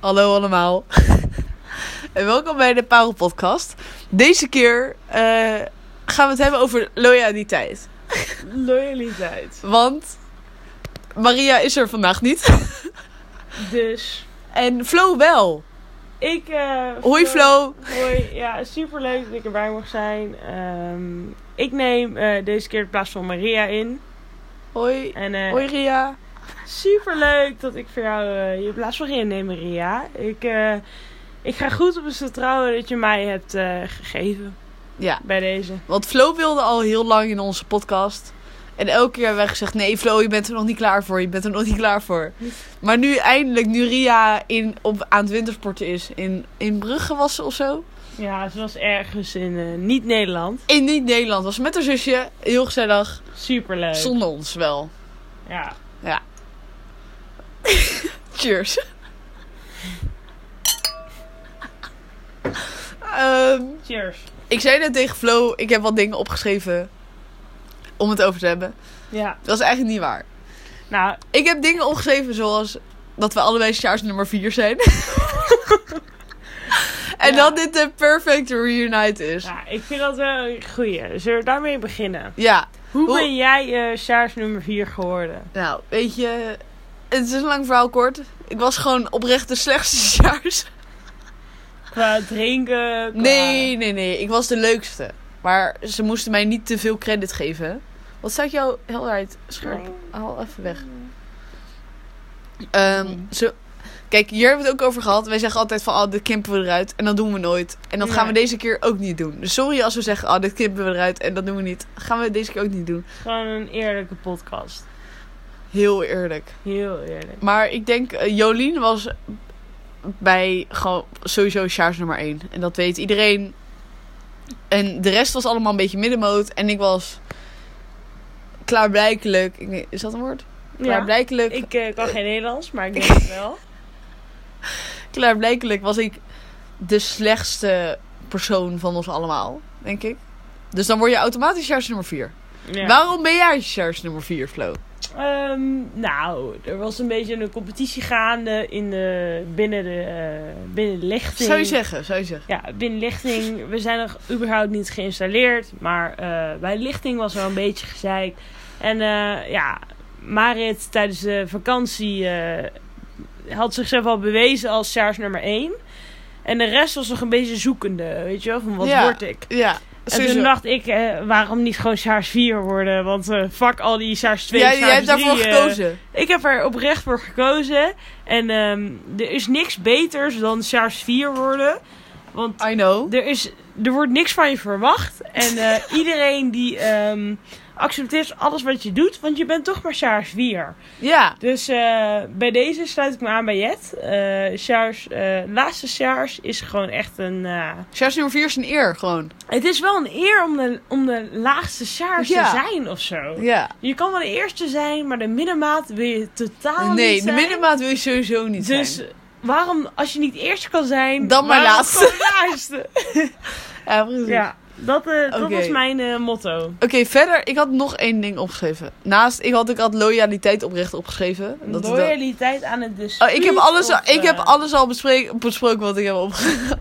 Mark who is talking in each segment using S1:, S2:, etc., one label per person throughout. S1: Hallo allemaal. en welkom bij de Parel Podcast. Deze keer eh, gaan we het hebben over loyaliteit.
S2: Loyaliteit.
S1: Want Maria is er vandaag niet.
S2: Dus
S1: En Flo wel.
S2: ik. eh,
S1: Hoi Flo.
S2: Hoi. Ja, superleuk dat ik erbij mag zijn. Ehm, ik neem eh, deze keer de plaats van Maria in.
S1: Hoi.
S2: En eh,
S1: Hoi Ria.
S2: superleuk dat ik voor jou eh, je plaats mag innemen, Maria. Ik, eh, ik ga goed op het vertrouwen dat je mij hebt eh, gegeven
S1: Ja,
S2: bij deze.
S1: want Flo wilde al heel lang in onze podcast. En elke keer hebben wij gezegd, nee Flo, je bent er nog niet klaar voor. Je bent er nog niet klaar voor. Maar nu eindelijk, nu Ria in, op, aan het wintersporten is. In, in Brugge was ze of zo.
S2: Ja, ze was ergens in eh, niet-Nederland.
S1: in niet-Nederland was met haar zusje. Heel gezellig.
S2: Superleuk.
S1: Zonder ons wel.
S2: Ja.
S1: Cheers. Ehm,
S2: Cheers.
S1: ik zei net tegen Flo, ik heb wat dingen opgeschreven om het over te hebben.
S2: Ja.
S1: Dat is eigenlijk niet waar.
S2: Nou,
S1: Ik heb dingen opgeschreven zoals dat we allebei Sjaars nummer 4 zijn. en
S2: Ja.
S1: dat dit de perfect reunite is. Ja.
S2: ja, ik vind dat wel een goeie. Zullen we daarmee beginnen? Hoe
S1: Hoe-
S2: ben jij eh Sjaars nummer 4 geworden?
S1: nou, weet je, het is een lang verhaal kort. Ik was gewoon oprecht de slechtste Sjaars.
S2: Qua drinken? Qua...
S1: Nee, nee, nee. Ik was de leukste. Maar ze moesten mij niet te veel credit geven. Wat staat jouw helderheid scherp? Haal even weg. Ehm, ze... Kijk, hier hebben we het ook over gehad. Wij zeggen altijd van, oh, dit kimpen we eruit. En dat doen we nooit. En dat gaan we
S2: Nee.
S1: deze keer ook niet doen. Dus sorry als we zeggen, oh, dit kimpen we eruit. En dat doen we niet. Gaan we deze keer ook niet doen.
S2: Gewoon een eerlijke podcast.
S1: Heel eerlijk.
S2: Heel eerlijk.
S1: Maar ik denk, eh, Jolien was bij gewoon sowieso Sjaars nummer 1. En dat weet iedereen. En de rest was allemaal een beetje middenmoot. En ik was klaarblijkelijk. ik weet- Is dat een woord?
S2: Ja.
S1: Klaarblijkelijk.
S2: Ik eh, kan geen Nederlands, maar ik denk het wel.
S1: Klaarblijkelijk was ik de slechtste persoon van ons allemaal, denk ik. Dus dan word je automatisch Sjaars nummer 4.
S2: Ja.
S1: Waarom ben jij Sjaars nummer 4, Flo?
S2: Ehm, nou, er was een beetje een competitie gaande in de, binnen, de, eh binnen de lichting.
S1: Zou je zeggen, zou je zeggen.
S2: Ja, binnen lichting. We zijn nog überhaupt niet geïnstalleerd. Maar eh, bij lichting was wel een beetje gezeik. En eh, ja, Marit tijdens de vakantie eh, had zichzelf al bewezen als Sjaars nummer 1. En de rest was nog een beetje zoekende, weet je wel, van wat
S1: Ja,
S2: word ik?
S1: Ja,
S2: En
S1: sowieso.
S2: toen dacht ik, eh, waarom niet gewoon Sjaars 4 worden? Want eh fuck al die Sjaars 2,
S1: Jij,
S2: Sjaars
S1: jij hebt
S2: 3.
S1: daarvoor
S2: eh,
S1: gekozen.
S2: ik heb er oprecht voor gekozen. En ehm, er is niks beters dan Sjaars 4 worden. Want
S1: I know.
S2: er, is, er wordt niks van je verwacht. En eh, iedereen die ehm, accepteert alles wat je doet, want je bent toch maar Sjaars 4.
S1: Ja.
S2: Dus eh, bij deze sluit ik me aan bij Jet. Eh Sjaars, eh, laatste Sjaars is gewoon echt een. eh,
S1: Sjaars nummer 4 is een eer, gewoon.
S2: het is wel een eer om de, om de laagste Sjaars
S1: Ja.
S2: te zijn of zo.
S1: Ja.
S2: Je kan wel de eerste zijn, maar de middenmaat wil je totaal
S1: Nee,
S2: niet
S1: de
S2: zijn.
S1: middenmaat wil je sowieso niet
S2: Oh, Dus
S1: zijn.
S2: waarom, als je niet eerste kan zijn,
S1: Dan maar
S2: waarom
S1: laatste.
S2: gewoon laatste?
S1: Ja, precies.
S2: ja, dat, eh, dat
S1: Oké.
S2: was mijn eh, motto.
S1: Oké, verder. Ik had nog één ding opgeschreven. Naast, ik had, ik had loyaliteit oprecht opgeschreven. Dat is wel-
S2: Loyaliteit aan het
S1: Oh,
S2: dispuut.
S1: ik heb alles,
S2: of,
S1: al, ik heb
S2: eh,
S1: alles al bespreken- besproken wat ik heb opgeschreven.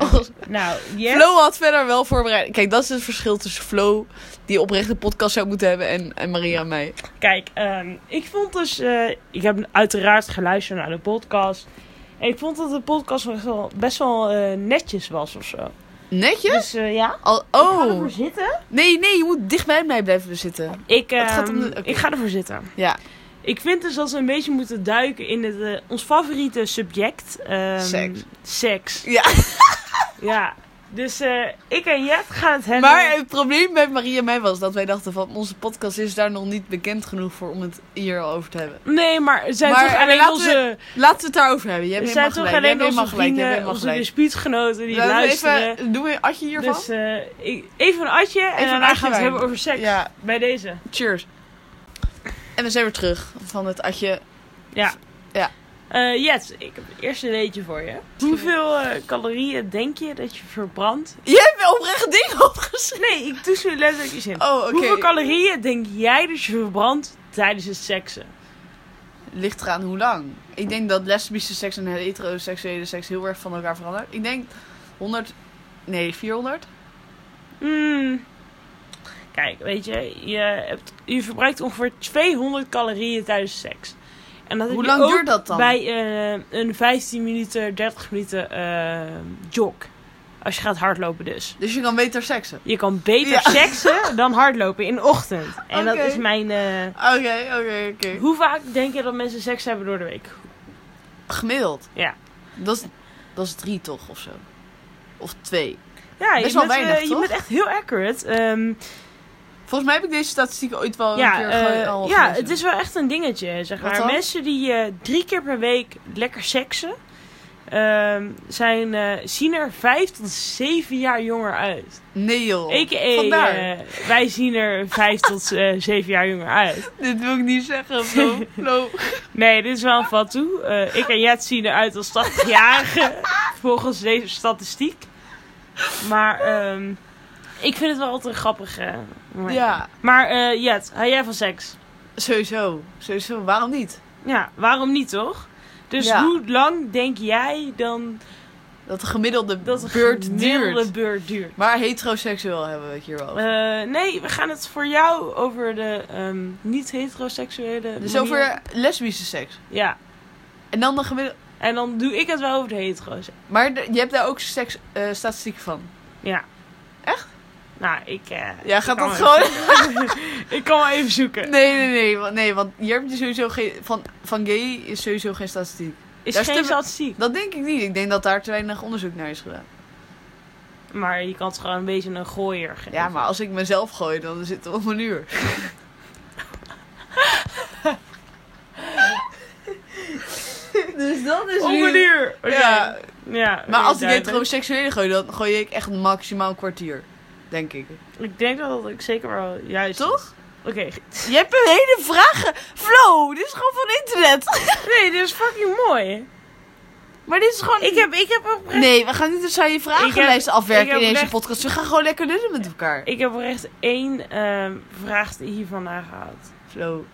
S2: Nou, yes.
S1: Flo had verder wel voorbereid. Kijk, dat is het verschil tussen Flo, die oprecht een podcast zou moeten hebben, en, en Maria en mij.
S2: Kijk, ehm, ik vond dus... eh, ik heb uiteraard geluisterd naar de podcast. En ik vond dat de podcast best wel, best wel eh, netjes was of zo.
S1: Netjes?
S2: Dus eh, ja,
S1: Al,
S2: ik ga
S1: oh.
S2: ervoor zitten.
S1: Nee, nee, je moet dicht bij mij blijven zitten.
S2: Ik,
S1: Het gaat
S2: ehm,
S1: om de- oké.
S2: ik ga ervoor zitten.
S1: Ja.
S2: Ik vind dus dat we een beetje moeten duiken in het, eh, ons favoriete subject. ehm,
S1: Seks.
S2: Seks.
S1: Ja.
S2: Ja. Dus eh, ik en eh, Jet gaan het hebben.
S1: Maar het probleem bij Maria en mij was dat wij dachten van onze podcast is daar nog niet bekend genoeg voor om het hier al over te hebben.
S2: Nee, maar het zijn
S1: Maar eh,
S2: toch alleen
S1: laten we-
S2: onze,
S1: Laten we het daarover hebben. Je hebt
S2: het
S1: helemaal
S2: zijn toch
S1: gelijk. Je hebt
S2: alleen
S1: helemaal
S2: onze
S1: gelijk. Je hebt
S2: vrienden,
S1: helemaal
S2: onze
S1: gelijk.
S2: dispuutgenoten die
S1: Laten we
S2: luisteren.
S1: even, doen we een atje hiervan?
S2: dus eh, ik- even een atje en
S1: een
S2: daarna
S1: atje
S2: gaan we
S1: wijn.
S2: het hebben over seks.
S1: ja,
S2: Bij deze.
S1: cheers. En we zijn weer terug van het atje.
S2: Ja.
S1: Ja.
S2: Eh, Jet, ik heb het eerste leedje voor je. Hoeveel eh, calorieën denk je dat je verbrandt?
S1: Je hebt wel oprecht ding opgeschreven.
S2: Nee, ik doe ze letterlijk eens in.
S1: Oh, oké.
S2: Hoeveel calorieën denk jij dat je verbrandt tijdens het seksen?
S1: ligt eraan hoe lang. Ik denk dat lesbische seks en heteroseksuele seks heel erg van elkaar veranderen. Ik denk 100, nee 400.
S2: Mm. Kijk, weet je, je, hebt, je verbruikt ongeveer 200 calorieën tijdens seks. En dat heb
S1: Hoe
S2: je
S1: lang
S2: ook
S1: duurt dat dan?
S2: Bij eh, een 15 minuten, 30 minuten eh, jog. Als je gaat hardlopen dus.
S1: Dus je kan beter seksen.
S2: Je kan beter
S1: Ja.
S2: seksen dan hardlopen in de ochtend. En
S1: Oké.
S2: dat is mijn... eh,
S1: Oké, oké, oké.
S2: hoe vaak denk je dat mensen seks hebben door de week?
S1: Gemiddeld.
S2: Ja.
S1: Dat is, dat is drie toch of zo. Of twee.
S2: Ja,
S1: Best
S2: je,
S1: wel
S2: bent, eh,
S1: weinig,
S2: je
S1: toch?
S2: bent echt heel accurate. Ehm,
S1: Volgens mij heb ik deze statistieken ooit wel
S2: ja,
S1: een keer gewoon
S2: eh,
S1: al
S2: ja
S1: gelezen.
S2: het is wel echt een dingetje. Zeg
S1: Wat
S2: maar.
S1: dan?
S2: Mensen die eh, drie keer per week lekker seksen, ehm, zijn, eh, zien er vijf tot zeven jaar jonger uit.
S1: Nee joh.
S2: A.k.a.
S1: Vandaar.
S2: eh, wij zien er vijf tot eh, zeven jaar jonger uit.
S1: Dit wil ik niet zeggen, Flo. Flo.
S2: Nee, dit is wel een fatou. Eh, ik en Jet zien eruit als 80-jarigen, volgens deze statistiek. Maar ehm, ik vind het wel altijd een grappig. eh, moment.
S1: Ja,
S2: Maar eh, Jet, hou jij van seks?
S1: sowieso. Sowieso. Waarom niet?
S2: Ja, waarom niet toch? Dus
S1: Ja.
S2: hoe lang denk jij dan
S1: Dat de gemiddelde
S2: dat een
S1: beurt
S2: gemiddelde
S1: duurt.
S2: beurt duurt?
S1: Maar heteroseksueel hebben we het hier wel. over.
S2: Eh, nee, we gaan het voor jou over de ehm, niet-heteroseksuele.
S1: dus
S2: manier-
S1: over lesbische seks.
S2: Ja,
S1: En dan de gemiddelde...
S2: en dan doe ik het wel over de hetero's.
S1: Maar de- je hebt daar ook seks, eh, statistieken van.
S2: Ja. Echt? Nou, ik. eh,
S1: Ja,
S2: ik
S1: gaat
S2: kan
S1: dat
S2: wel
S1: gewoon...
S2: even- ik kan wel even zoeken.
S1: Nee, nee, nee. Want, nee, want hier heb je sowieso geen... Van, van gay is sowieso geen statistiek.
S2: Is
S1: Daar
S2: geen
S1: stemmen-
S2: statistiek.
S1: Dat denk ik niet. Ik denk dat daar te weinig onderzoek naar is gedaan.
S2: Maar je kan het gewoon een beetje een gooier geven.
S1: Ja, maar als ik mezelf gooi, dan zit het op een uur. dus dat is
S2: Om een uur! Oké.
S1: Ja,
S2: ja
S1: maar
S2: oké,
S1: als ik
S2: duidelijk.
S1: heteroseksuele gooi, dan gooi ik echt maximaal een kwartier. Denk ik.
S2: Ik denk dat dat ik zeker wel juist. is.
S1: Toch?
S2: Oké.
S1: Je hebt een hele vragen. Flo, dit is gewoon van internet.
S2: Nee, dit is fucking mooi.
S1: Maar dit is gewoon...
S2: Ik heb, ik heb oprecht,
S1: Nee, we gaan niet dus aan je
S2: Ik
S1: vragenlijst
S2: heb- ik
S1: afwerken
S2: heb
S1: in deze
S2: echt-
S1: podcast. We gaan gewoon lekker lullen met elkaar.
S2: ik heb oprecht één ehm, vraag die hiervan aangehaald.
S1: Flo.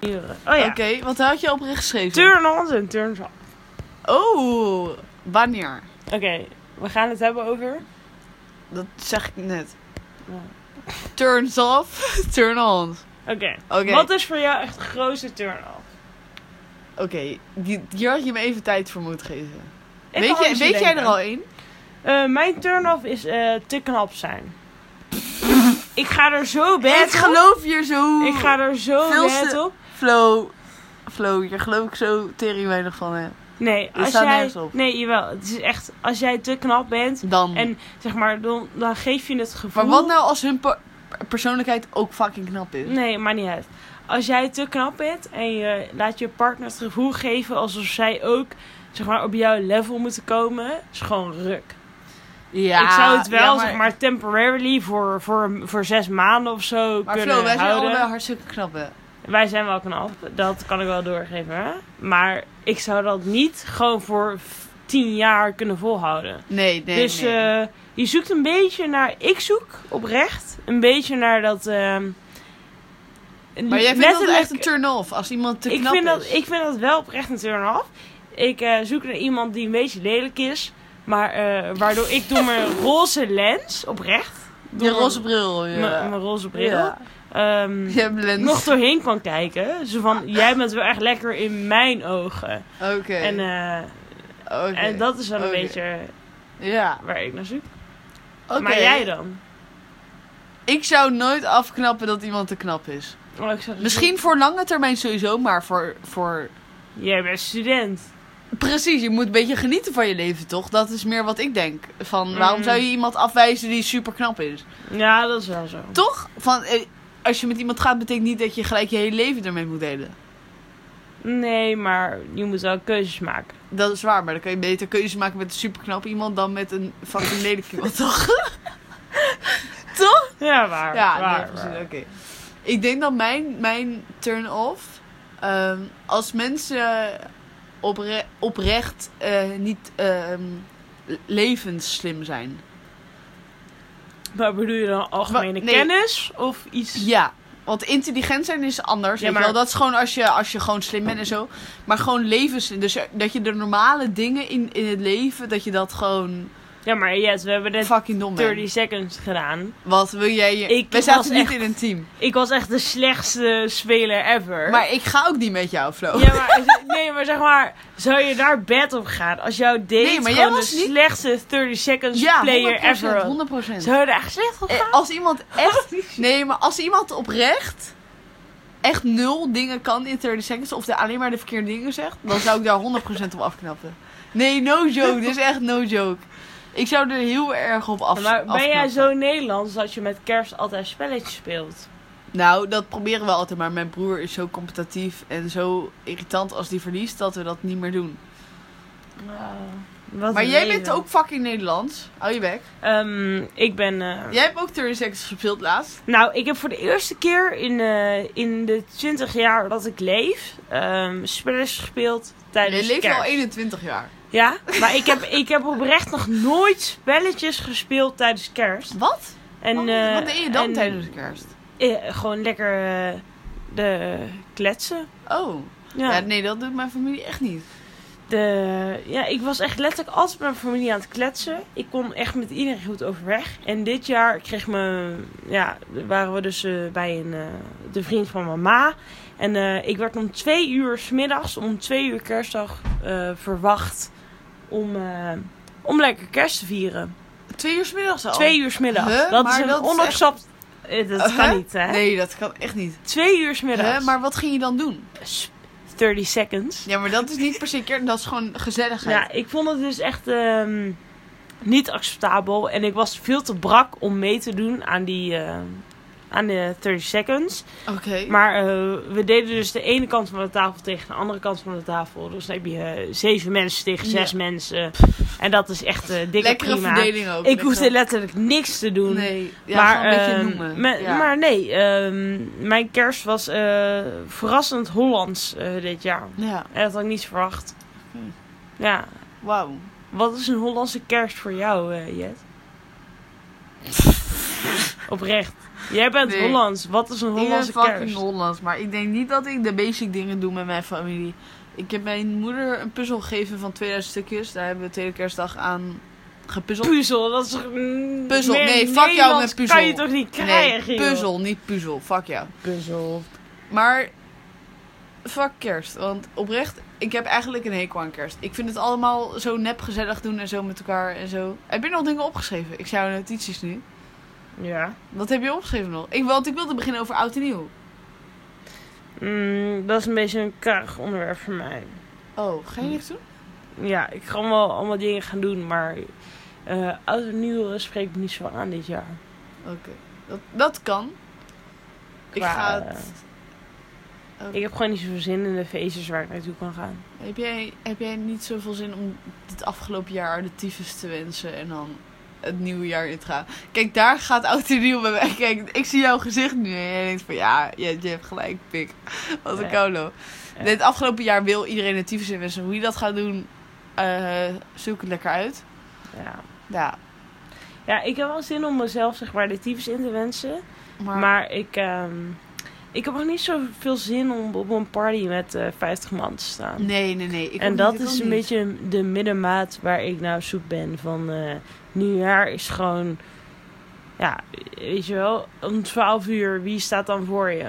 S2: Uren. Oh ja.
S1: Oké, wat had je oprecht geschreven?
S2: Turn-ons en turns off.
S1: Oh, wanneer?
S2: Oké, we gaan het hebben over...
S1: Dat zeg ik net.
S2: Ja.
S1: Turns off, turn on.
S2: Oké.
S1: Oké,
S2: Wat is voor jou echt de grootste turn-off?
S1: oké, die- hier had je me even tijd voor moeten geven. weet
S2: Ik kan
S1: je,
S2: anders
S1: weet jij
S2: denken.
S1: er al één?
S2: Eh, mijn turn-off is eh, te knap zijn. ik ga er zo
S1: Ik
S2: bad op.
S1: geloof hier zo.
S2: Ik ga er zo
S1: Veel
S2: bad
S1: te-
S2: op.
S1: Flo, Flo, hier geloof ik zo tering weinig van hè.
S2: Nee, als
S1: staat
S2: jij...
S1: nergens op.
S2: Nee, jawel. Het is echt... Als jij te knap bent...
S1: Dan.
S2: En zeg maar, dan, dan geef je het gevoel...
S1: maar wat nou als hun per- persoonlijkheid ook fucking knap is?
S2: Nee, maar niet uit. Als jij te knap bent en je laat je partner het gevoel geven alsof zij ook zeg maar, op jouw level moeten komen, is gewoon ruk.
S1: Ja,
S2: ik zou het wel
S1: ja,
S2: zeg maar temporarily voor, voor, voor zes maanden of zo
S1: Maar
S2: kunnen
S1: Flo, wij zijn
S2: houden.
S1: allebei hartstikke knap hè.
S2: Wij zijn wel knap, dat kan ik wel doorgeven. Hè? Maar ik zou dat niet gewoon voor v- tien jaar kunnen volhouden.
S1: Nee, nee,
S2: dus
S1: nee.
S2: eh, je zoekt een beetje naar. Ik zoek oprecht een beetje naar dat. ehm
S1: maar jij vindt dat
S2: letterlijk-
S1: echt een turn-off als iemand te
S2: ik
S1: knap
S2: vind
S1: is?
S2: dat, ik vind dat wel oprecht een turn-off. Ik eh, zoek naar iemand die een beetje lelijk is. Maar eh, waardoor ik door mijn roze lens, oprecht.
S1: Je
S2: door
S1: roze bril,
S2: mijn-
S1: ja.
S2: Mijn roze bril.
S1: Ja.
S2: ehm,
S1: Je hebt lens.
S2: nog doorheen kan kijken. Zo van, jij bent wel echt lekker in mijn ogen.
S1: Oké.
S2: En, eh,
S1: Oké.
S2: en dat is wel een
S1: Oké.
S2: beetje
S1: Ja.
S2: waar ik naar zoek.
S1: Oké.
S2: Maar jij dan?
S1: Ik zou nooit afknappen dat iemand te knap is.
S2: Oh, ik zag het
S1: Misschien voor lange termijn sowieso, maar voor, voor...
S2: niet. Jij bent student.
S1: Precies, je moet een beetje genieten van je leven, toch? Dat is meer wat ik denk. Van, waarom
S2: Mm.
S1: zou je iemand afwijzen die super knap is?
S2: Ja, dat is wel zo.
S1: Toch? Van, eh, als je met iemand gaat, betekent niet dat je gelijk je hele leven ermee moet delen.
S2: Nee, maar je moet wel keuzes maken.
S1: Dat is waar, maar dan kan je beter keuzes maken met een super knap iemand dan met een fucking lelijk iemand, toch?
S2: Ja, waar.
S1: Ja,
S2: waar,
S1: nee, precies,
S2: waar.
S1: oké. Ik denk dat mijn, mijn turn-off... ehm, als mensen opre- oprecht eh, niet ehm, le- levensslim zijn.
S2: Maar bedoel je dan algemene
S1: Wa- nee.
S2: kennis of iets?
S1: Ja, Want intelligent zijn is anders.
S2: Ja,
S1: weet je
S2: maar-
S1: wel. Dat is gewoon als je, als je gewoon slim bent en zo. Maar gewoon levens. Dus er- dat je de normale dingen in, in het leven. dat je dat gewoon
S2: Ja, maar yes, we hebben net
S1: fucking dom
S2: 30
S1: bent.
S2: seconds gedaan.
S1: Wat wil jij. Je...
S2: Ik
S1: Wij zaten
S2: was
S1: niet
S2: echt-
S1: in een team.
S2: Ik was echt de slechtste speler ever.
S1: Maar ik ga ook niet met jou, Flo.
S2: Ja, maar, nee, maar zeg maar, zou je daar bed op gaan als jouw date
S1: Nee, maar jij
S2: gewoon de
S1: was niet-
S2: slechtste 30 seconds
S1: Ja,
S2: player
S1: 100%.
S2: ever was?
S1: 100%.
S2: Zou je daar echt slecht op
S1: Eh,
S2: gaan?
S1: Als iemand echt. Nee, maar als iemand oprecht. echt nul dingen kan in 30 seconds. of de, alleen maar de verkeerde dingen zegt. dan zou ik daar 100% op afknappen. Nee, no joke. Dit is echt no joke. Ik zou er heel erg op af.
S2: maar ben jij
S1: afknappen.
S2: zo Nederlands dat je met kerst altijd spelletjes speelt?
S1: Nou, dat proberen we altijd. Maar mijn broer is zo competitief. en zo irritant als die verliest. dat we dat niet meer doen.
S2: Wat
S1: maar
S2: een
S1: jij
S2: leven.
S1: bent ook fucking Nederlands. Hou je bek.
S2: Ehm, ik ben... eh,
S1: Jij hebt ook 30 seconds gespeeld laatst.
S2: Nou, ik heb voor de eerste keer in, eh, in de 20 jaar dat ik leef, ehm spelletjes gespeeld tijdens
S1: Je leeft
S2: kerst.
S1: al 21 jaar.
S2: Ja, maar ik heb, ik heb oprecht nog nooit spelletjes gespeeld tijdens kerst.
S1: Wat?
S2: En,
S1: wat,
S2: eh,
S1: wat deed je dan
S2: en,
S1: tijdens de kerst?
S2: eh, gewoon lekker eh, de kletsen.
S1: Oh.
S2: Ja.
S1: Ja. nee, dat doet mijn familie echt niet.
S2: de, ja, ik was echt letterlijk altijd met mijn familie aan het kletsen. Ik kon echt met iedereen goed overweg. En dit jaar kreeg me, ja, waren we dus eh, bij een, eh, de vriend van mama. En eh, ik werd om twee uur 's middags, om twee uur kerstdag, eh, verwacht om, eh, om lekker kerst te vieren.
S1: Twee uur 's middags al?
S2: Twee uur 's middags.
S1: Oh. Huh?
S2: Dat
S1: Maar
S2: is een
S1: dat is echt-
S2: onopzapt... eh, Dat
S1: Eh,
S2: kan
S1: huh?
S2: niet, hè?
S1: Nee, dat kan echt niet.
S2: Twee uur 's middags.
S1: Hè, maar wat ging je dan doen?
S2: Sp- 30 seconds.
S1: Ja, maar dat is niet per se keer, dat is gewoon gezelligheid.
S2: Ja, ik vond het dus echt ehm, niet acceptabel. En ik was veel te brak om mee te doen aan die... ehm, aan de 30 seconds.
S1: Oké.
S2: Maar eh, we deden dus de ene kant van de tafel tegen de andere kant van de tafel. Dus dan heb je eh, zeven mensen tegen zes
S1: Ja.
S2: mensen. En dat is echt eh dikke
S1: Lekkere
S2: prima.
S1: verdeling ook.
S2: Ik hoefde
S1: lekker.
S2: letterlijk niks te doen.
S1: Nee, ja,
S2: maar,
S1: gewoon een beetje
S2: ehm,
S1: noemen.
S2: me-
S1: ja.
S2: maar nee, ehm, mijn kerst was eh, verrassend Hollands eh, dit jaar.
S1: Ja,
S2: En dat had ik niet verwacht.
S1: Hm.
S2: Ja,
S1: wauw.
S2: wat is een Hollandse kerst voor jou, eh, Jet? Oprecht. Jij bent
S1: Nee.
S2: Hollands. Wat is een
S1: Ik ben
S2: Hollandse
S1: fucking
S2: kerst?
S1: Hollands, maar ik denk niet dat ik de basic dingen doe met mijn familie. Ik heb mijn moeder een puzzel gegeven van 2000 stukjes. Daar hebben we tweede kerstdag aan gepuzzeld.
S2: Puzzel, dat is toch... mm,
S1: Puzzel,
S2: meer
S1: nee, fuck jou met
S2: Nederlands kan je
S1: puzzel.
S2: toch niet
S1: Nee,
S2: krijgen, joh?
S1: puzzel, niet puzzel. Fuck jou.
S2: Puzzel.
S1: Maar fuck kerst. Want oprecht, ik heb eigenlijk een hekel aan kerst. Ik vind het allemaal zo nep gezellig doen en zo met elkaar en zo. Heb je nog dingen opgeschreven? Ik zie jouw notities nu.
S2: Ja.
S1: Wat heb je opgeschreven nog? Ik, want ik wilde beginnen over oud en nieuw.
S2: Mm, dat is een beetje een karig onderwerp voor mij.
S1: Oh, ga je niks doen?
S2: Ja, ik ga wel allemaal dingen gaan doen, maar... eh oud en nieuw eh, spreekt me niet zo aan dit jaar.
S1: Dat, dat kan. Ik
S2: Qua,
S1: ga
S2: eh,
S1: het... Oh.
S2: Ik heb gewoon niet zoveel zin in de feestjes waar ik naartoe kan gaan.
S1: Heb jij, heb jij niet zoveel zin om dit afgelopen jaar de tyfus te wensen en dan het nieuwe jaar in te gaan? Kijk, daar gaat oud en nieuw bij mij. Kijk, ik zie jouw gezicht nu en jij denkt van ja, je, je hebt gelijk, pik. Wat een
S2: Ja.
S1: kolo.
S2: Ja.
S1: Dit afgelopen jaar wil iedereen de tyfus in wensen. Hoe je dat gaat doen, eh, zoek het lekker uit.
S2: Ja.
S1: Ja,
S2: Ja, ik heb wel zin om mezelf zeg maar de tyfus in te wensen.
S1: maar,
S2: Maar, ik, ehm, ik heb ook niet zoveel zin om op een party met eh 50 man te staan.
S1: nee, nee, nee. Ik
S2: en
S1: ook
S2: dat
S1: niet, ik
S2: is
S1: ook
S2: een
S1: niet.
S2: beetje de middenmaat waar ik nou op zoek ben. Van eh nieuwjaar is gewoon, ja, weet je wel, om 12 uur, wie staat dan voor je?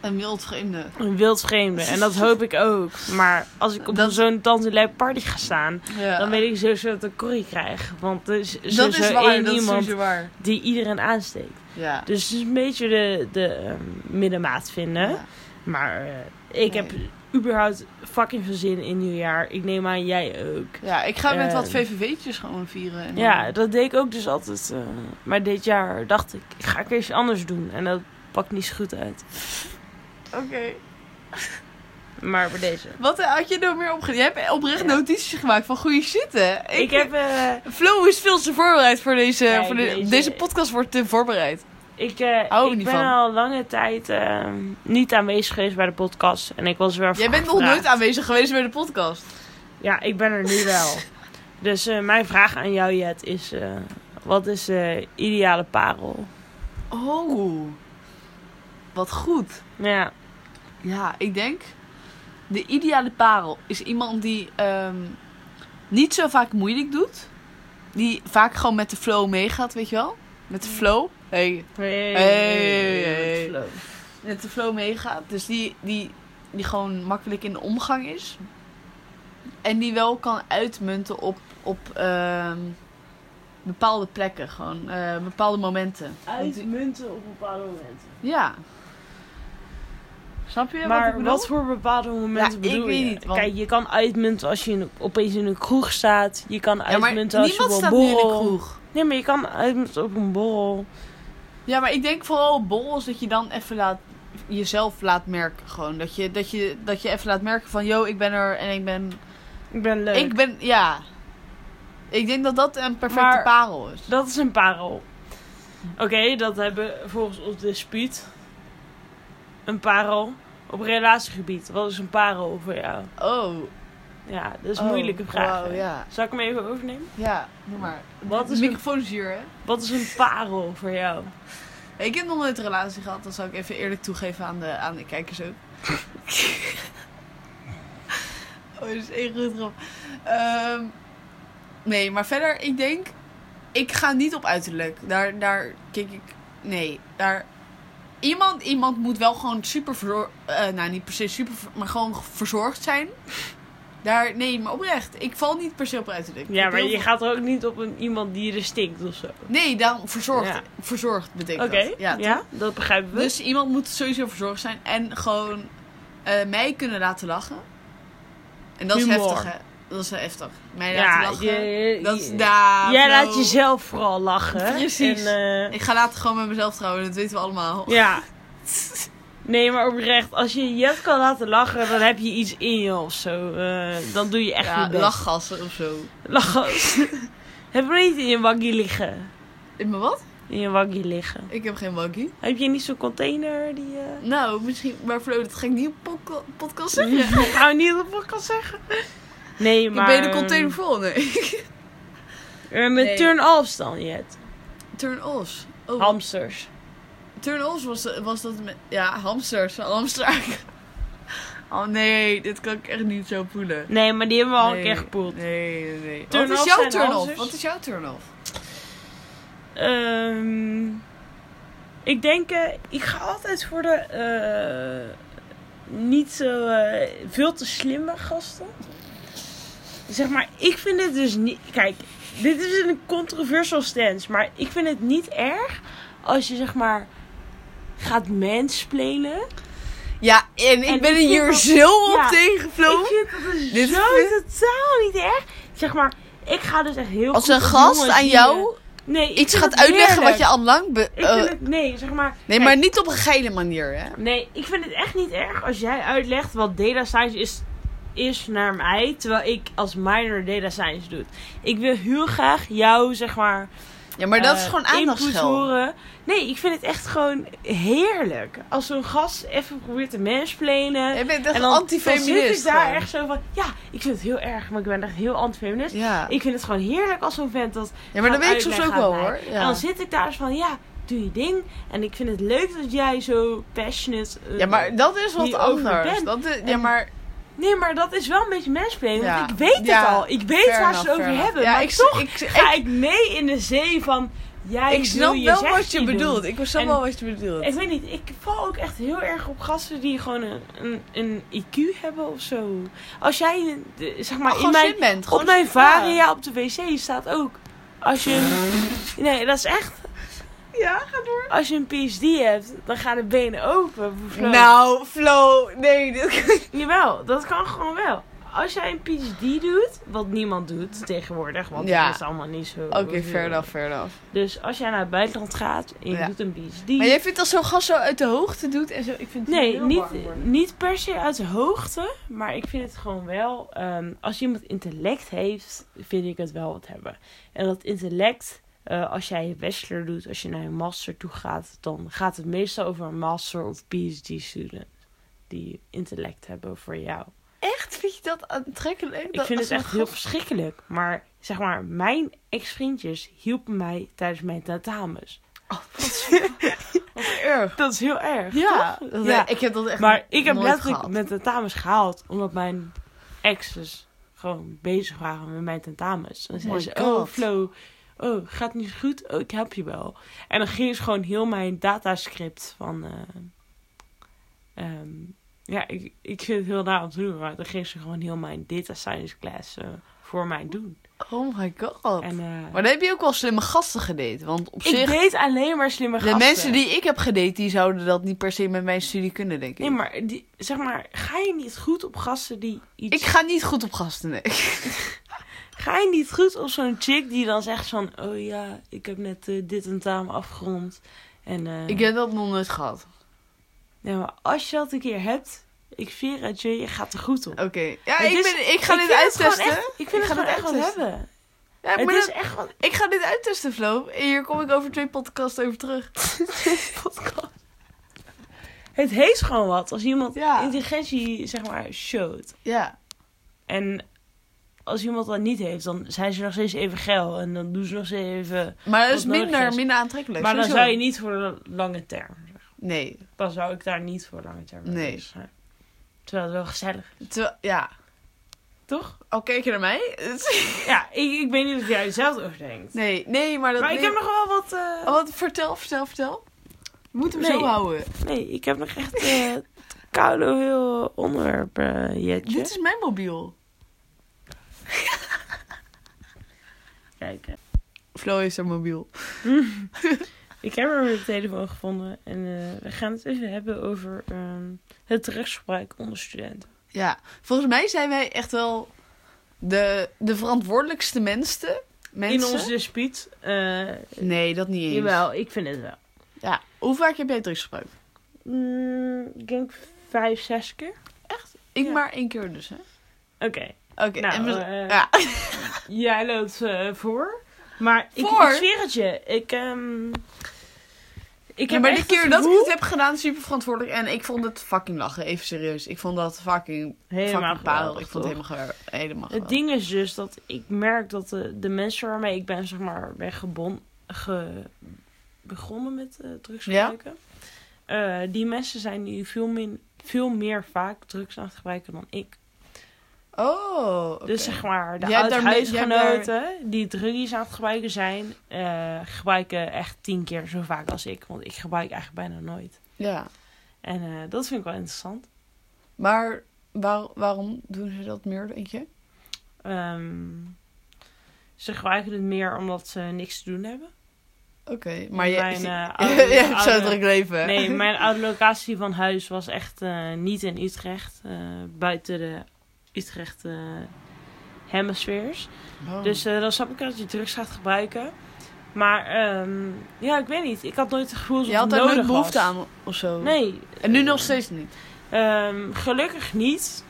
S1: een wild vreemde.
S2: Een wild vreemde. En dat hoop ik ook. Maar als ik op
S1: Dat-
S2: zo'n tante lijp party ga staan,
S1: Ja.
S2: dan weet ik sowieso dat ik een corrie krijg. Want er is
S1: dat
S2: sowieso
S1: is waar,
S2: één
S1: dat is
S2: iemand
S1: sowieso waar.
S2: die iedereen aansteekt.
S1: Ja.
S2: Dus het is een beetje de, de ehm, middenmaat vinden.
S1: Ja.
S2: Maar eh, ik
S1: Nee.
S2: heb überhaupt fucking veel zin in nieuwjaar. Ik neem aan jij ook.
S1: Ja, ik ga met wat
S2: Eh,
S1: VVV'tjes gewoon vieren. En
S2: Ja,
S1: dan-
S2: dat deed ik ook dus altijd. eh, maar dit jaar dacht ik, ik ga ik eens anders doen. En dat pakt niet zo goed uit.
S1: Oké.
S2: Maar bij deze.
S1: Wat eh, had je nou meer opgedaan? Je hebt oprecht
S2: Ja.
S1: notities gemaakt van goede shit, hè?
S2: Ik, heb, eh,
S1: Flo is veel te voorbereid voor deze...
S2: Ja,
S1: voor de-
S2: deze-
S1: deze... podcast wordt te voorbereid.
S2: ik, eh,
S1: Hou er
S2: ik
S1: niet
S2: ben
S1: van.
S2: al lange tijd eh, niet aanwezig geweest bij de podcast. En ik was weer
S1: Jij bent nog
S2: gevraagd.
S1: nooit aanwezig geweest bij de podcast.
S2: Ja, ik ben er nu wel. Dus eh, mijn vraag aan jou, Jet, is... eh, wat is de ideale parel?
S1: Oh. wat goed.
S2: Ja.
S1: Ja, ik denk. De ideale parel is iemand die ehm, niet zo vaak moeilijk doet. Die vaak gewoon met de flow meegaat, weet je wel? Met
S2: Mm.
S1: de flow. Hey,
S2: Hey.
S1: Hey.
S2: hey, wat leuk.
S1: met de flow meegaat. Dus die, die, die gewoon makkelijk in de omgang is. En die wel kan uitmunten op, op ehm, bepaalde plekken, gewoon eh, bepaalde momenten. Want die-
S2: Uitmunten op bepaalde momenten.
S1: Ja. Snap je wat ik
S2: maar
S1: bedoel?
S2: wat voor bepaalde momenten
S1: Ja,
S2: bedoel
S1: ik weet
S2: je?
S1: niet, want-
S2: Kijk, je kan uitmunten als je in, opeens in een kroeg staat. Je kan
S1: ja, maar
S2: uitmunten
S1: niemand
S2: als je op een
S1: staat nu in de
S2: borrel.
S1: kroeg.
S2: Nee, maar je kan uitmunten op een borrel.
S1: Ja, maar ik denk vooral op borrels dat je dan even laat, jezelf laat merken. Gewoon. Dat je, dat, je, dat je even laat merken van, yo, ik ben er en ik ben...
S2: Ik ben leuk.
S1: Ik ben, ja. Ik denk dat dat een perfecte
S2: Maar-
S1: parel is.
S2: Dat is een parel. Oké, dat hebben volgens ons dispuut. Een parel. Op relatiegebied, wat is een parel voor jou?
S1: Oh.
S2: Ja, dat is
S1: oh,
S2: een moeilijke vraag.
S1: wauw,
S2: hè?
S1: ja.
S2: Zal ik hem even overnemen?
S1: Ja, doe maar.
S2: Wat
S1: De
S2: is, een,
S1: microfoon is hier, hè?
S2: wat is een parel voor jou?
S1: Ik heb nog nooit een relatie gehad. Dat zou ik even eerlijk toegeven aan de, aan de kijkers ook. oh, dat is één goed grap. Ehm, nee, maar verder, ik denk... Ik ga niet op uiterlijk. Daar, daar kijk ik... Nee, daar... Iemand, iemand moet wel gewoon super verzorgd... nou, niet per se super... ver- Maar gewoon verzorgd zijn. Daar, nee, maar oprecht. Ik val niet per se op uiterlijk. Ik
S2: Ja, maar
S1: heel
S2: je gaat er ook niet op een, iemand die er stinkt of zo.
S1: Nee, dan verzorgd.
S2: Ja.
S1: Verzorgd betekent
S2: Oké,
S1: dat.
S2: ja,
S1: Ja,
S2: dat begrijpen we.
S1: Dus iemand moet sowieso verzorgd zijn en gewoon eh, mij kunnen laten lachen. En dat is
S2: Humor.
S1: heftig, hè? Dat is heftig. Mij laten
S2: ja, je-
S1: lachen.
S2: je-
S1: dat is
S2: je-
S1: daar.
S2: jij
S1: bro.
S2: laat jezelf vooral lachen.
S1: Precies.
S2: En, eh,
S1: Ik ga later gewoon met mezelf trouwen, dat weten we allemaal.
S2: Ja. Nee, maar oprecht, als je Jet kan laten lachen, dan heb je iets in je of zo. Eh, dan doe je echt
S1: Ja,
S2: je best.
S1: lachgassen of zo.
S2: Lachen. heb je niet in je waggie liggen?
S1: In mijn wat?
S2: In je waggie liggen.
S1: Ik heb geen waggie.
S2: Heb je niet zo'n container die eh, je...
S1: Nou, misschien, maar Flo, dat ga ik niet op podca- podcast zeggen.
S2: Uh... Gaan we niet op de podcast zeggen? Nee, maar...
S1: Ik ben de container vol, nee.
S2: Eh, met
S1: Nee.
S2: turn-offs dan, Jet.
S1: Turn-offs. Oh,
S2: Hamsters.
S1: Turn-offs was, was dat met... Ja, hamsters. Hamster. Oh nee, dit kan ik echt niet zo voelen.
S2: Nee, maar die hebben we al
S1: Nee,
S2: een keer gepoeld.
S1: Nee, nee, nee.
S2: Turn-offs
S1: Wat is jouw
S2: zijn
S1: turn-off?
S2: hamsters.
S1: Wat is jouw turn-off?
S2: Ehm, ik denk, eh, ik ga altijd voor de eh, niet zo eh, veel te slimme gasten. Zeg maar, ik vind het dus niet. Kijk, dit is een controversial stance, maar ik vind het niet erg als je zeg maar gaat mansplainen.
S1: Ja, en ik
S2: En
S1: ben er
S2: ik vind
S1: hier
S2: dat-
S1: zo op
S2: ja,
S1: tegen, Flo.
S2: Ik vind dat dus
S1: Dit
S2: zo
S1: vind-
S2: totaal niet erg. Zeg maar, ik ga dus echt heel
S1: Als
S2: goed
S1: een
S2: op
S1: gast
S2: jongens
S1: aan
S2: die,
S1: jou
S2: eh, nee, ik
S1: iets
S2: vind
S1: gaat
S2: het
S1: uitleggen wat
S2: heerlijk.
S1: je al lang... Be-
S2: Ik
S1: eh,
S2: vind het, nee, zeg maar.
S1: nee,
S2: kijk,
S1: maar niet op een geile manier, hè?
S2: Nee, ik vind het echt niet erg als jij uitlegt wat data science is, is naar mij, terwijl ik als minor data science doe. Ik wil heel graag jou, zeg maar.
S1: Ja, maar dat
S2: eh,
S1: is gewoon
S2: input
S1: aandachtsgeld.
S2: horen. Nee, ik vind het echt gewoon heerlijk. Als zo'n gast even probeert te mansplainen.
S1: Je bent echt
S2: en dan, dan zit
S1: antifeminist.
S2: ik daar
S1: gewoon.
S2: echt zo van. Ja, ik vind het heel erg, maar ik ben echt heel antifeminist.
S1: Ja.
S2: Ik vind het gewoon heerlijk als zo'n vent dat
S1: ja, maar dat
S2: gaan
S1: weet ik soms ook
S2: uitleggen
S1: wel,
S2: aan
S1: hoor.
S2: mij.
S1: Ja.
S2: En dan zit ik daar eens van, ja, doe je ding. En ik vind het leuk dat jij zo passionate... eh,
S1: Ja, maar dat is wat
S2: hierover
S1: anders.
S2: ben.
S1: Dat is, ja,
S2: En-
S1: maar
S2: Nee, maar dat is wel een beetje mansplaining.
S1: Ja.
S2: Want ik weet het
S1: Ja,
S2: al. Ik weet
S1: fair
S2: waar
S1: enough,
S2: ze het over
S1: fair
S2: hebben.
S1: enough. Ja,
S2: maar
S1: ik,
S2: toch
S1: ik, ik,
S2: ga ik mee in de zee van... Jij
S1: ik
S2: wil
S1: snap
S2: je
S1: wel wat
S2: zegje
S1: je
S2: doen.
S1: bedoelt. Ik snap
S2: En-
S1: wel wat je bedoelt.
S2: Ik weet niet, ik val ook echt heel erg op gasten die gewoon een, een, een IQ hebben of zo. Als jij, eh, zeg maar, in
S1: Oh, gewoon
S2: mijn,
S1: zin bent.
S2: op
S1: gewoon-
S2: mijn
S1: ja.
S2: varia op de wc staat ook. Als je... Nee, dat is echt...
S1: Ja, ga door.
S2: Als je een PhD hebt, dan gaan de benen open. voor Flo.
S1: Nou, Flo, nee. Dit...
S2: Jawel, dat kan gewoon wel. Als jij een PhD doet, wat niemand doet tegenwoordig, want
S1: Ja.
S2: dat is allemaal niet zo.
S1: Oké, fair enough, fair enough.
S2: Dus als jij naar het buitenland gaat en je
S1: Ja.
S2: doet een PhD.
S1: Maar jij vindt als zo'n gast zo uit de hoogte doet en zo, ik vind het
S2: Nee,
S1: heel bang
S2: niet,
S1: worden.
S2: niet per se uit de hoogte, maar ik vind het gewoon wel. ehm, als iemand intellect heeft, vind ik het wel wat hebben. En dat intellect, eh, als jij je bachelor doet, als je naar je master toe gaat, dan gaat het meestal over een master of PhD student. Die intellect hebben voor jou.
S1: Echt? Vind je dat aantrekkelijk?
S2: Ik
S1: Dat
S2: vind
S1: als
S2: het
S1: zo'n
S2: echt heel
S1: gast-
S2: verschrikkelijk. Maar zeg maar, mijn ex-vriendjes hielpen mij tijdens mijn tentamens.
S1: Wat erg.
S2: Dat is heel erg.
S1: Ja,
S2: toch?
S1: dat-
S2: Ja.
S1: ik heb dat echt
S2: Maar ik heb
S1: nooit
S2: letterlijk
S1: gehad.
S2: mijn tentamens gehaald. Omdat mijn exes gewoon bezig waren met mijn tentamens. Dan
S1: My
S2: zeiden ze, oh
S1: God.
S2: Flo, oh gaat niet goed? Oh, ik help je wel. En dan ging ze gewoon heel mijn datascript van... eh, ehm, ja, ik, ik vind het heel naar om te doen. Maar dan ging ze gewoon heel mijn data science class eh, voor mij doen.
S1: Oh my god.
S2: En, eh,
S1: Maar dan heb je ook wel slimme gasten gedate. Want op
S2: ik
S1: zich,
S2: deed alleen maar slimme
S1: de
S2: gasten.
S1: mensen die ik heb gedate, die zouden dat niet per se met mijn studie kunnen, denk ik.
S2: Nee, maar die, zeg maar, ga je niet goed op gasten die iets...
S1: Ik ga niet goed op gasten, nee.
S2: Ga je niet goed op zo'n chick die dan zegt van... Oh ja, ik heb net eh, dit tentamen afgerond. En, eh,
S1: Ik heb dat nog nooit gehad.
S2: ja, maar als je dat een keer hebt... Ik veer het je, je gaat er goed op.
S1: Oké. Ja,
S2: Het
S1: ik,
S2: is-
S1: ben, ik ga
S2: ik
S1: dit
S2: vind het gewoon
S1: uittesten.
S2: echt- ik vind
S1: Ik
S2: het
S1: ga
S2: gewoon
S1: dit
S2: echt wat
S1: uittesten.
S2: hebben.
S1: Ja, ik,
S2: het
S1: ben
S2: is
S1: dat-
S2: echt wat
S1: ik ga dit uittesten, Flo. En hier kom ik over twee podcasts over terug.
S2: podcast. Het heeft gewoon wat als iemand
S1: Ja.
S2: intelligentie, zeg maar, showt.
S1: Ja.
S2: En als iemand dat niet heeft, dan zijn ze nog steeds even geil. En dan doen ze nog steeds even...
S1: Maar dat
S2: Wat
S1: is
S2: nodig
S1: minder,
S2: is.
S1: minder aantrekkelijk.
S2: Maar dan
S1: sowieso.
S2: zou je niet voor de lange term.
S1: Nee.
S2: Dan zou ik daar niet voor lange term mee
S1: Nee.
S2: bezig zijn. Terwijl het wel gezellig is.
S1: Terwijl- ja.
S2: Toch?
S1: Al kijk je naar mij?
S2: Ja, ik, ik weet niet of jij er zelf over denkt.
S1: Nee, nee, maar dat...
S2: maar ik
S1: nee.
S2: heb nog wel wat... eh,
S1: Oh, wat, vertel, vertel, vertel. Je moet hem
S2: Nee.
S1: zo houden.
S2: Nee, ik heb nog echt eh koude heel onderwerp, eh, Jetje.
S1: Dit is mijn mobiel.
S2: Kijk, eh,
S1: Flo is haar mobiel.
S2: ik heb er mijn telefoon gevonden. En eh, we gaan het even hebben over ehm, het rechtsgebruik onder studenten.
S1: Ja, volgens mij zijn wij echt wel de, de verantwoordelijkste mensen. mensen.
S2: In ons dispuut. eh
S1: Nee, dat niet eens.
S2: jawel, ik vind het wel.
S1: Ja. Hoe vaak heb jij drugs gebruikt?
S2: Mm, ik denk vijf, zes keer.
S1: Ik
S2: Ja.
S1: maar één keer dus, hè?
S2: Oké.
S1: Oké.
S2: Nou,
S1: en we-
S2: eh,
S1: ja.
S2: Jij loopt eh, voor. Maar ik,
S1: Voor?
S2: ik zweer het je. Ik, ehm ik
S1: Ja,
S2: heb
S1: maar de
S2: echt
S1: keer dus
S2: het
S1: dat ik
S2: gevoel-
S1: het heb gedaan, super verantwoordelijk. En ik vond het fucking lachen, even serieus. Ik vond dat fucking, fucking parel.
S2: geweldig,
S1: Ik vond
S2: toch?
S1: het helemaal, gewel- helemaal
S2: Het
S1: geweldig.
S2: ding is dus dat ik merk dat de, de mensen waarmee ik ben, zeg maar, ben gebon, ge, begonnen met eh drugs
S1: Ja.
S2: gebruiken. eh, die mensen zijn nu veel, min, veel meer vaak drugs aan het gebruiken dan ik.
S1: Oh,
S2: Dus zeg maar, de
S1: Jij hebt daar mee-
S2: oud-huisgenoten die druggies aan het gebruiken zijn, eh, gebruiken echt tien keer zo vaak als ik. Want ik gebruik eigenlijk bijna nooit.
S1: Ja,
S2: En eh, dat vind ik wel interessant.
S1: maar waar- waarom doen ze dat meer, denk je?
S2: Ehm, ze gebruiken het meer omdat ze niks te doen hebben.
S1: Oké, maar je,
S2: mijn,
S1: je,
S2: eh, oude-
S1: hebt zo'n
S2: oude-
S1: druk leven. hè?
S2: Nee, mijn oude locatie van huis was echt eh, niet in Utrecht. eh, buiten de Utrecht eh hemispheres.
S1: Oh.
S2: Dus eh, dan snap ik dat je drugs gaat gebruiken. Maar ehm, ja, ik weet niet. Ik had nooit het gevoel dat
S1: je had
S2: het
S1: daar
S2: nodig
S1: nooit behoefte
S2: was.
S1: aan of zo.
S2: Nee.
S1: En nu nog steeds niet.
S2: Ehm, gelukkig niet.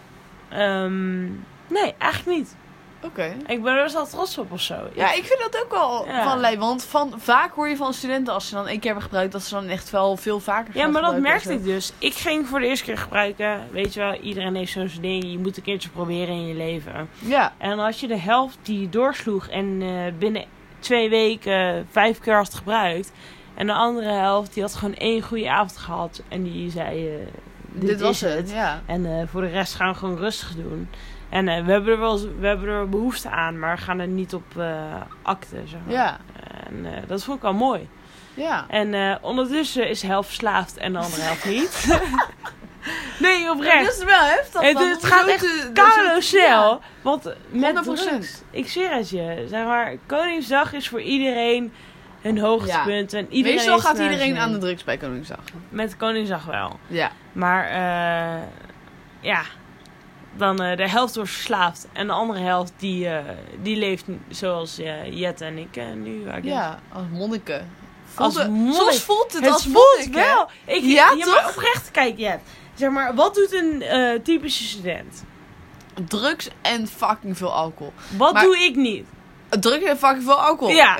S2: Ehm, nee, eigenlijk niet.
S1: Oké.
S2: Ik ben er best wel trots op of zo.
S1: Ja, ik vind dat ook wel
S2: Ja.
S1: van lijn. Want van, vaak hoor je van studenten als ze dan één keer hebben gebruikt, dat ze dan echt wel veel vaker
S2: Ja,
S1: gaan
S2: maar dat
S1: gebruiken
S2: merkte ik dus. Ik ging voor de eerste keer gebruiken. Weet je wel, iedereen heeft zo'n zijn ding. Je moet een keertje proberen in je leven.
S1: en zo. Ja.
S2: En als je de helft die doorsloeg en eh, binnen twee weken eh, vijf keer had gebruikt. En de andere helft die had gewoon één goede avond gehad. En die zei, eh,
S1: Dit, was het. Ja.
S2: En eh, voor de rest gaan we gewoon rustig doen. En eh, we, hebben er wel, we hebben er behoefte aan, maar we gaan er niet op eh acten. Zeg maar.
S1: Ja.
S2: En eh, dat vond ik wel mooi.
S1: Ja.
S2: En eh, ondertussen is de helft verslaafd en de andere helft niet. nee,
S1: Dat
S2: oprecht.
S1: is wel heftig.
S2: Het-
S1: man.
S2: het
S1: Om
S2: gaat
S1: zo
S2: echt
S1: te-
S2: Carlo
S1: zo-
S2: Cel.
S1: ja.
S2: Want met
S1: 100%.
S2: drugs, ik zweer het je. Zeg maar, Koningsdag is voor iedereen een hoogtepunt. En iedereen
S1: Meestal
S2: heeft
S1: gaat
S2: naar
S1: iedereen
S2: zin.
S1: aan de drugs bij Koningsdag.
S2: Met Koningsdag wel.
S1: Ja.
S2: Maar eh, ja, dan eh, de helft wordt verslaafd en de andere helft die, eh, die leeft n- zoals eh, Jet en ik eh, nu. I guess.
S1: Ja, als monniken.
S2: Als
S1: Voelde-
S2: monnik.
S1: Soms voelt het,
S2: het
S1: als
S2: voelt
S1: monnik, hè?
S2: wel. Ik,
S1: Ja,
S2: Maar
S1: toch?
S2: oprecht, kijk Jet. Zeg maar, wat doet een eh, typische student?
S1: Drugs en fucking veel alcohol.
S2: Wat
S1: Maar-
S2: doe ik niet?
S1: Drugs en fucking veel alcohol.
S2: Ja.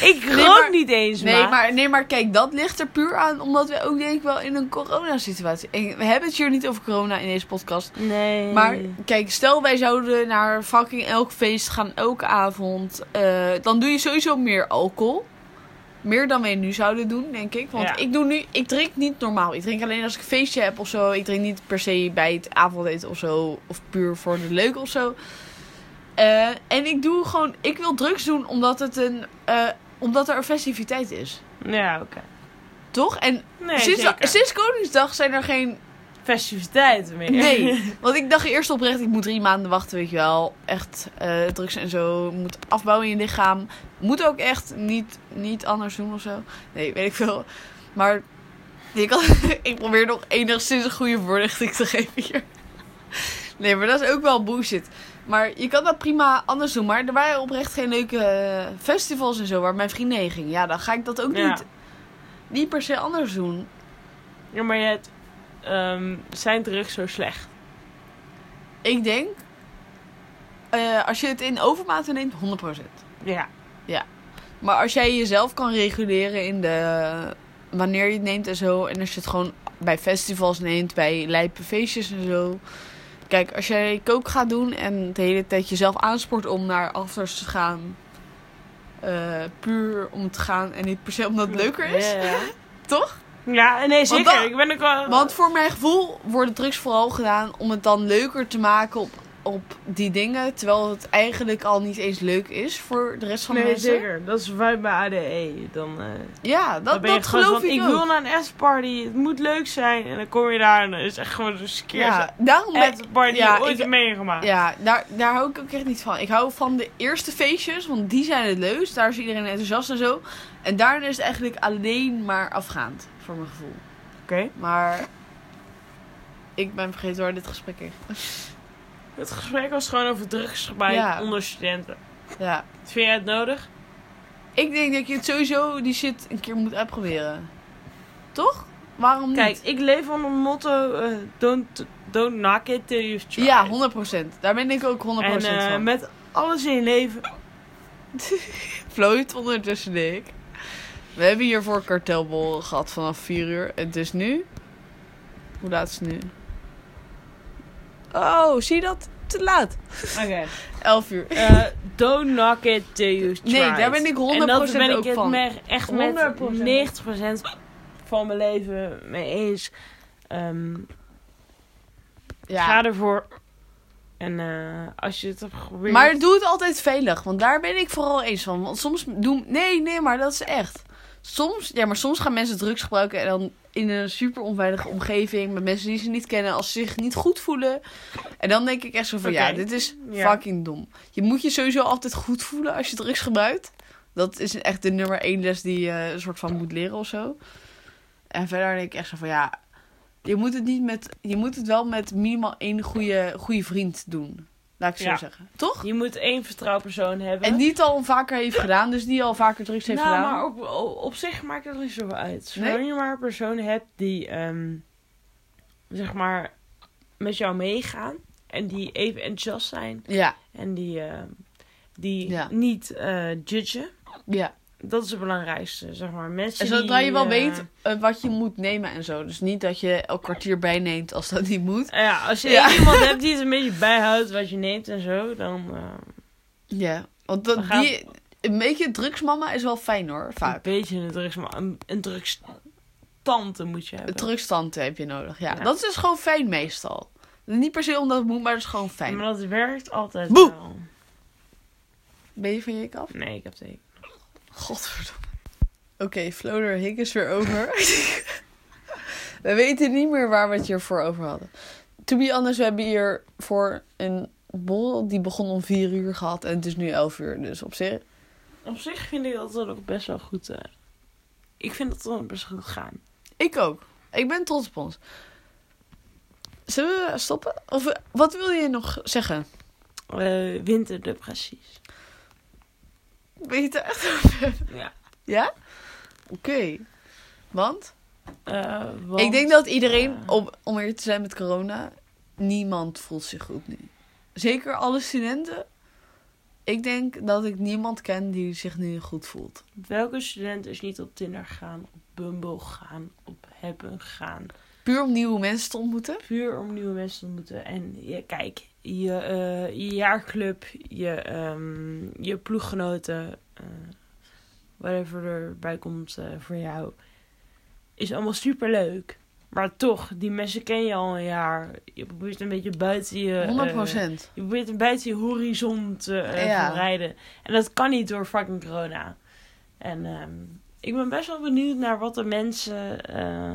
S2: Ik rook
S1: maar-
S2: niet eens,
S1: Nee,
S2: maar...
S1: maar, nee, maar kijk, dat ligt er puur aan, omdat we ook denk ik wel in een coronasituatie. En we hebben het hier niet over corona in deze podcast.
S2: Nee.
S1: Maar kijk, stel wij zouden naar fucking elk feest gaan, elke avond. eh, dan doe je sowieso meer alcohol. Meer dan wij nu zouden doen, denk ik. Want
S2: Ja.
S1: ik doe nu, ik drink niet normaal. Ik drink alleen als ik een feestje heb of zo. Ik drink niet per se bij het avondeten of zo. Of puur voor de leuk of zo. Eh, en ik doe gewoon, ik wil drugs doen omdat het een, eh, omdat er een festiviteit is.
S2: Ja, oké.
S1: Toch? En
S2: Nee,
S1: sinds,
S2: zeker.
S1: sinds Koningsdag zijn er geen.
S2: Festiviteiten meer.
S1: Nee. Want ik dacht eerst oprecht, ik moet drie maanden wachten, weet je wel. Echt eh, drugs en zo. Moet afbouwen in je lichaam. Moet ook echt niet, niet anders doen of zo. Nee, weet ik veel. Maar ik, had- ik probeer nog enigszins een goede voorlichting te geven hier. Nee, maar dat is ook wel bullshit. Maar je kan dat prima anders doen. Maar er waren oprecht geen leuke eh, festivals en zo waar mijn vrienden heen gingen. Ja, dan ga ik dat ook
S2: Ja.
S1: niet, niet per se anders doen.
S2: Ja, maar je hebt, ehm, zijn drugs zo slecht?
S1: Ik denk, eh, als je het in overmaat neemt, 100%.
S2: Ja.
S1: Maar als jij jezelf kan reguleren in de, wanneer je het neemt en zo. En als je het gewoon bij festivals neemt, bij lijpe feestjes en zo. Kijk, als jij kook gaat doen en de hele tijd jezelf aanspoort om naar afters te gaan. eh, puur om te gaan en niet per se omdat het leuker is.
S2: Ja, ja.
S1: Toch?
S2: Ja, nee, zeker.
S1: dan-
S2: ik ben ook wel...
S1: Want voor mijn gevoel worden drugs vooral gedaan om het dan leuker te maken op, op die dingen. Terwijl het eigenlijk al niet eens leuk is voor de rest van de
S2: nee,
S1: mensen.
S2: zeker. Dat is vibe bij ADE. Dan, eh,
S1: Ja,
S2: dan
S1: dat,
S2: ben je
S1: dat
S2: gewoon
S1: geloof
S2: van,
S1: ik,
S2: ik
S1: ook.
S2: wil naar een S-party. Het moet leuk zijn. En dan kom je daar en dan is het echt gewoon een
S1: ja,
S2: skeerse
S1: daarom ben-
S2: S-party die
S1: ja,
S2: je ooit
S1: ik-
S2: hebt meegemaakt.
S1: Ja, daar, daar hou ik ook echt niet van. Ik hou van de eerste feestjes, want die zijn het leukst. Daar is iedereen enthousiast en zo. En daarna is het eigenlijk alleen maar afgaand, voor mijn gevoel.
S2: Oké.
S1: Maar ik ben vergeten waar dit gesprek is.
S2: Het gesprek was gewoon over drugsgebruik
S1: Ja.
S2: onder studenten.
S1: Ja.
S2: Vind jij het nodig?
S1: Ik denk dat je het sowieso, die shit, een keer moet uitproberen. Toch? Waarom niet?
S2: Kijk, ik leef onder het motto... eh, don't, don't knock it till you've tried.
S1: ja, 100%. Daar ben ik ook 100%
S2: En eh,
S1: van.
S2: met alles in je leven...
S1: Floot ondertussen ik. We hebben hiervoor kartelbol gehad vanaf 4 uur. Het is nu. Hoe laat is het nu? Oh, zie je dat? Te laat.
S2: Oké.
S1: 11 uur.
S2: Eh, don't knock it till you try.
S1: Nee, daar ben ik 100%
S2: en dat ben ik
S1: ook
S2: het
S1: van.
S2: me- echt
S1: 100%.
S2: met 90% van mijn leven mee eens. Ehm,
S1: Ja.
S2: Ga ervoor. En eh, als je het hebt geprobeerd...
S1: Maar doe het altijd veilig, want daar ben ik vooral eens van. Want soms doen. Nee, nee, maar dat is echt. Soms, ja, maar soms gaan mensen drugs gebruiken en dan in een super onveilige omgeving met mensen die ze niet kennen, als ze zich niet goed voelen. En dan denk ik echt zo van ja,
S2: Oké.
S1: dit is
S2: Ja.
S1: fucking dom. Je moet je sowieso altijd goed voelen als je drugs gebruikt. Dat is echt de nummer één les die je een soort van moet leren of zo. En verder denk ik echt zo van ja, je moet het niet met, je moet het wel met minimaal één goede, goede vriend doen. Laat ik het
S2: Ja.
S1: zo zeggen. Toch?
S2: Je moet één vertrouwpersoon hebben.
S1: En die het al vaker heeft gedaan, dus die al vaker drugs heeft
S2: nou,
S1: gedaan.
S2: maar op, op, op zich maakt dat niet zoveel uit. Zolang
S1: Nee?
S2: je maar een persoon hebt die, ehm, zeg maar, met jou meegaan. En die even enthousiast zijn.
S1: Ja,
S2: En die, ehm, die
S1: Ja.
S2: niet eh judgen.
S1: ja.
S2: Dat is het belangrijkste, zeg maar. Mensen
S1: En zodra je wel
S2: die, eh,
S1: weet eh, wat je moet nemen en zo. Dus niet dat je elk kwartier bijneemt als dat niet moet.
S2: eh, Ja, als je
S1: Ja.
S2: één iemand hebt die het een beetje bijhoudt wat je neemt en zo, dan eh,
S1: Ja, want dat,
S2: We gaan-
S1: die, een beetje drugsmama is wel fijn hoor,
S2: een
S1: vaak.
S2: beetje een drugs, maar een, een drugstante moet je
S1: Een
S2: hebben.
S1: drugstante heb je nodig, ja.
S2: Ja.
S1: Dat is dus gewoon fijn meestal. Niet per se omdat het moet, maar het is gewoon fijn.
S2: Maar dat werkt altijd
S1: Boe!
S2: wel.
S1: Ben je van je af?
S2: Nee, ik heb het niet.
S1: Godverdomme. Oké, Floder Hik is weer over. we weten niet meer waar we het hiervoor over hadden. To be honest, we hebben hier voor een borrel die begon om 4 uur gehad. En het is nu 11 uur, dus op zich.
S2: Op zich vind ik dat dat ook best wel goed. eh, ik vind dat dan best goed gaan.
S1: Ik ook. Ik ben trots op ons. Zullen we stoppen? Of eh, wat wil je nog zeggen?
S2: Eh winterdepressies.
S1: Weet je het echt?
S2: Ja.
S1: Ja? Oké. Want?
S2: Eh, want,
S1: Ik denk dat iedereen,
S2: eh,
S1: om, om eerlijk te zijn met corona, niemand voelt zich goed nu. Zeker alle studenten. Ik denk dat ik niemand ken die zich nu goed voelt.
S2: Welke student is niet op Tinder gaan, op Bumble gaan, op Happen gaan?
S1: Puur om nieuwe mensen te ontmoeten.
S2: puur om nieuwe mensen te ontmoeten. En je, kijk, je, eh, je jaarclub, je, ehm, je ploeggenoten, eh, whatever erbij komt eh, voor jou, is allemaal super leuk. Maar toch, die mensen ken je al een jaar. Je probeert een beetje buiten je. eh,
S1: 100
S2: je probeert een beetje je horizon te eh,
S1: Ja.
S2: verrijden. En dat kan niet door fucking corona. En ehm, ik ben best wel benieuwd naar wat de mensen. eh,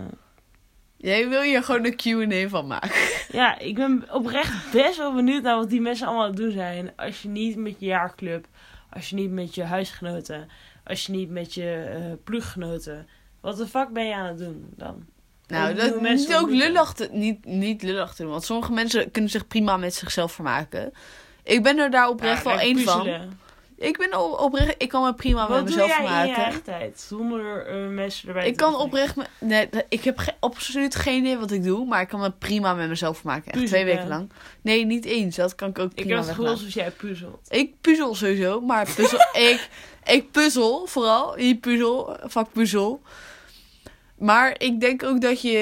S1: Jij wil hier gewoon een Q&A van maken.
S2: Ja, ik ben oprecht best wel benieuwd naar wat die mensen allemaal aan het doen zijn. Als je niet met je jaarclub, als je niet met je huisgenoten, als je niet met je eh ploeggenoten. Wat de fuck ben je aan het doen dan?
S1: Nou,
S2: Ik
S1: dat
S2: bedoel,
S1: is
S2: mensen
S1: ook
S2: ontmoeten.
S1: lullig te, niet, niet lullig te doen. Want sommige mensen kunnen zich prima met zichzelf vermaken. Ik ben er daar oprecht
S2: Ja,
S1: wel één van.
S2: puzzelen.
S1: Ik ben o- oprecht... Ik kan me prima met
S2: Wat doe
S1: mezelf
S2: jij in je
S1: vermaken.
S2: eigen tijd zonder eh, mensen erbij
S1: Ik
S2: te
S1: kan
S2: betrekken?
S1: oprecht... me- nee, ik heb ge- absoluut geen idee wat ik doe. Maar ik kan me prima met mezelf vermaken. Echt twee
S2: Puzzelen.
S1: weken lang. Nee, niet eens. Dat kan ik ook
S2: Ik
S1: prima
S2: heb het gevoel
S1: weglaten.
S2: alsof jij puzzelt.
S1: Ik puzzel sowieso, maar puzzel, ik, ik puzzel vooral. Niet puzzel, vak puzzel. Maar ik denk ook dat je...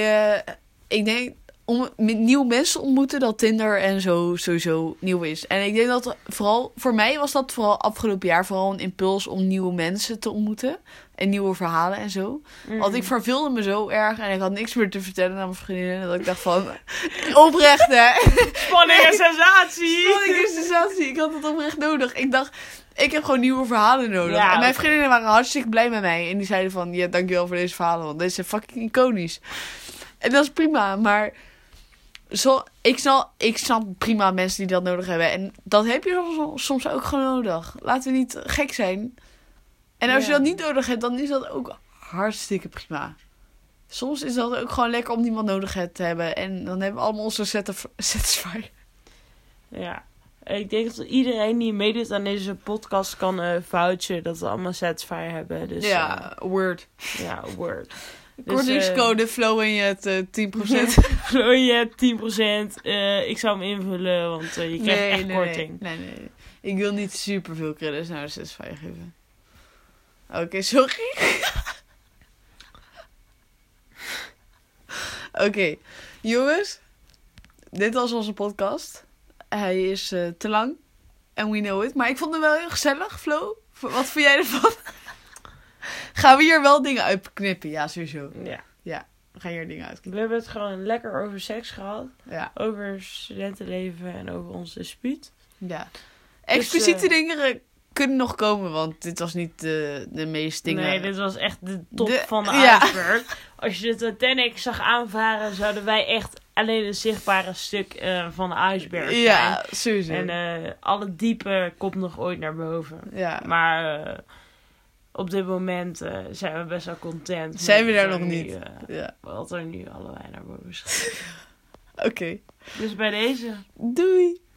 S1: eh, Ik denk, om met nieuwe mensen ontmoeten, dat Tinder en zo sowieso nieuw is. En ik denk dat vooral... Voor mij was dat vooral afgelopen jaar vooral een impuls om nieuwe mensen te ontmoeten. En nieuwe verhalen en zo. Want
S2: Mm.
S1: ik verveelde me zo erg en ik had niks meer te vertellen aan mijn vriendinnen. Dat ik dacht van... Oprecht, hè?
S2: Spanning en sensatie!
S1: Spanning en sensatie. Ik had het oprecht nodig. Ik dacht, ik heb gewoon nieuwe verhalen nodig.
S2: Ja,
S1: en mijn
S2: oké.
S1: vriendinnen waren hartstikke blij met mij. En die zeiden van, ja, dankjewel voor deze verhalen. Want deze zijn fucking iconisch. En dat is prima, maar... Zo, ik, snap, ik snap prima mensen die dat nodig hebben. En dat heb je soms- soms ook gewoon nodig. Laten we niet gek zijn. En als je
S2: Ja.
S1: dat niet nodig hebt, dan is dat ook hartstikke prima. Soms is dat ook gewoon lekker om niemand nodig te hebben. En dan hebben we allemaal onze satisf- satisfier.
S2: Ja. Ik denk dat iedereen die meedoet aan deze podcast kan eh vouchen dat we allemaal satisfier hebben. Dus, eh,
S1: ja, word.
S2: Ja, word. Dus,
S1: Kortingscode flow in je het eh, 10%.
S2: Vloei je 10%. eh, ik zou hem invullen, want eh, je krijgt echt korting.
S1: Nee, nee, nee. Ik wil niet super veel credits naar de 6 van je geven. Oké, sorry. Oké, jongens. Dit was onze podcast. Hij is eh, te lang. En we know it. Maar ik vond hem wel heel gezellig, Flo. V- Wat vind jij ervan? Gaan we hier wel dingen uitknippen? Ja, sowieso.
S2: Ja.
S1: We gaan hier dingen uitknippen.
S2: We hebben het gewoon lekker over seks gehad.
S1: Ja.
S2: Over studentenleven en over ons dispuut.
S1: Ja. Expliciete
S2: Dus, eh,
S1: dingen kunnen nog komen, want dit was niet de, de meest dingen.
S2: Nee, dit was echt de top
S1: De-
S2: van de
S1: ja.
S2: iceberg. Als je de Titanic zag aanvaren, zouden wij echt alleen het zichtbare stuk eh, van de iceberg zijn.
S1: Ja, sowieso.
S2: En eh, alle diepe komt nog ooit naar boven.
S1: ja.
S2: Maar eh, op dit moment eh, zijn we best wel content. met
S1: Zijn we daar
S2: wat er
S1: nog
S2: nu,
S1: niet.
S2: eh,
S1: ja.
S2: wat er nu allebei naar boven schiet.
S1: Oké.
S2: dus bij deze.
S1: Doei!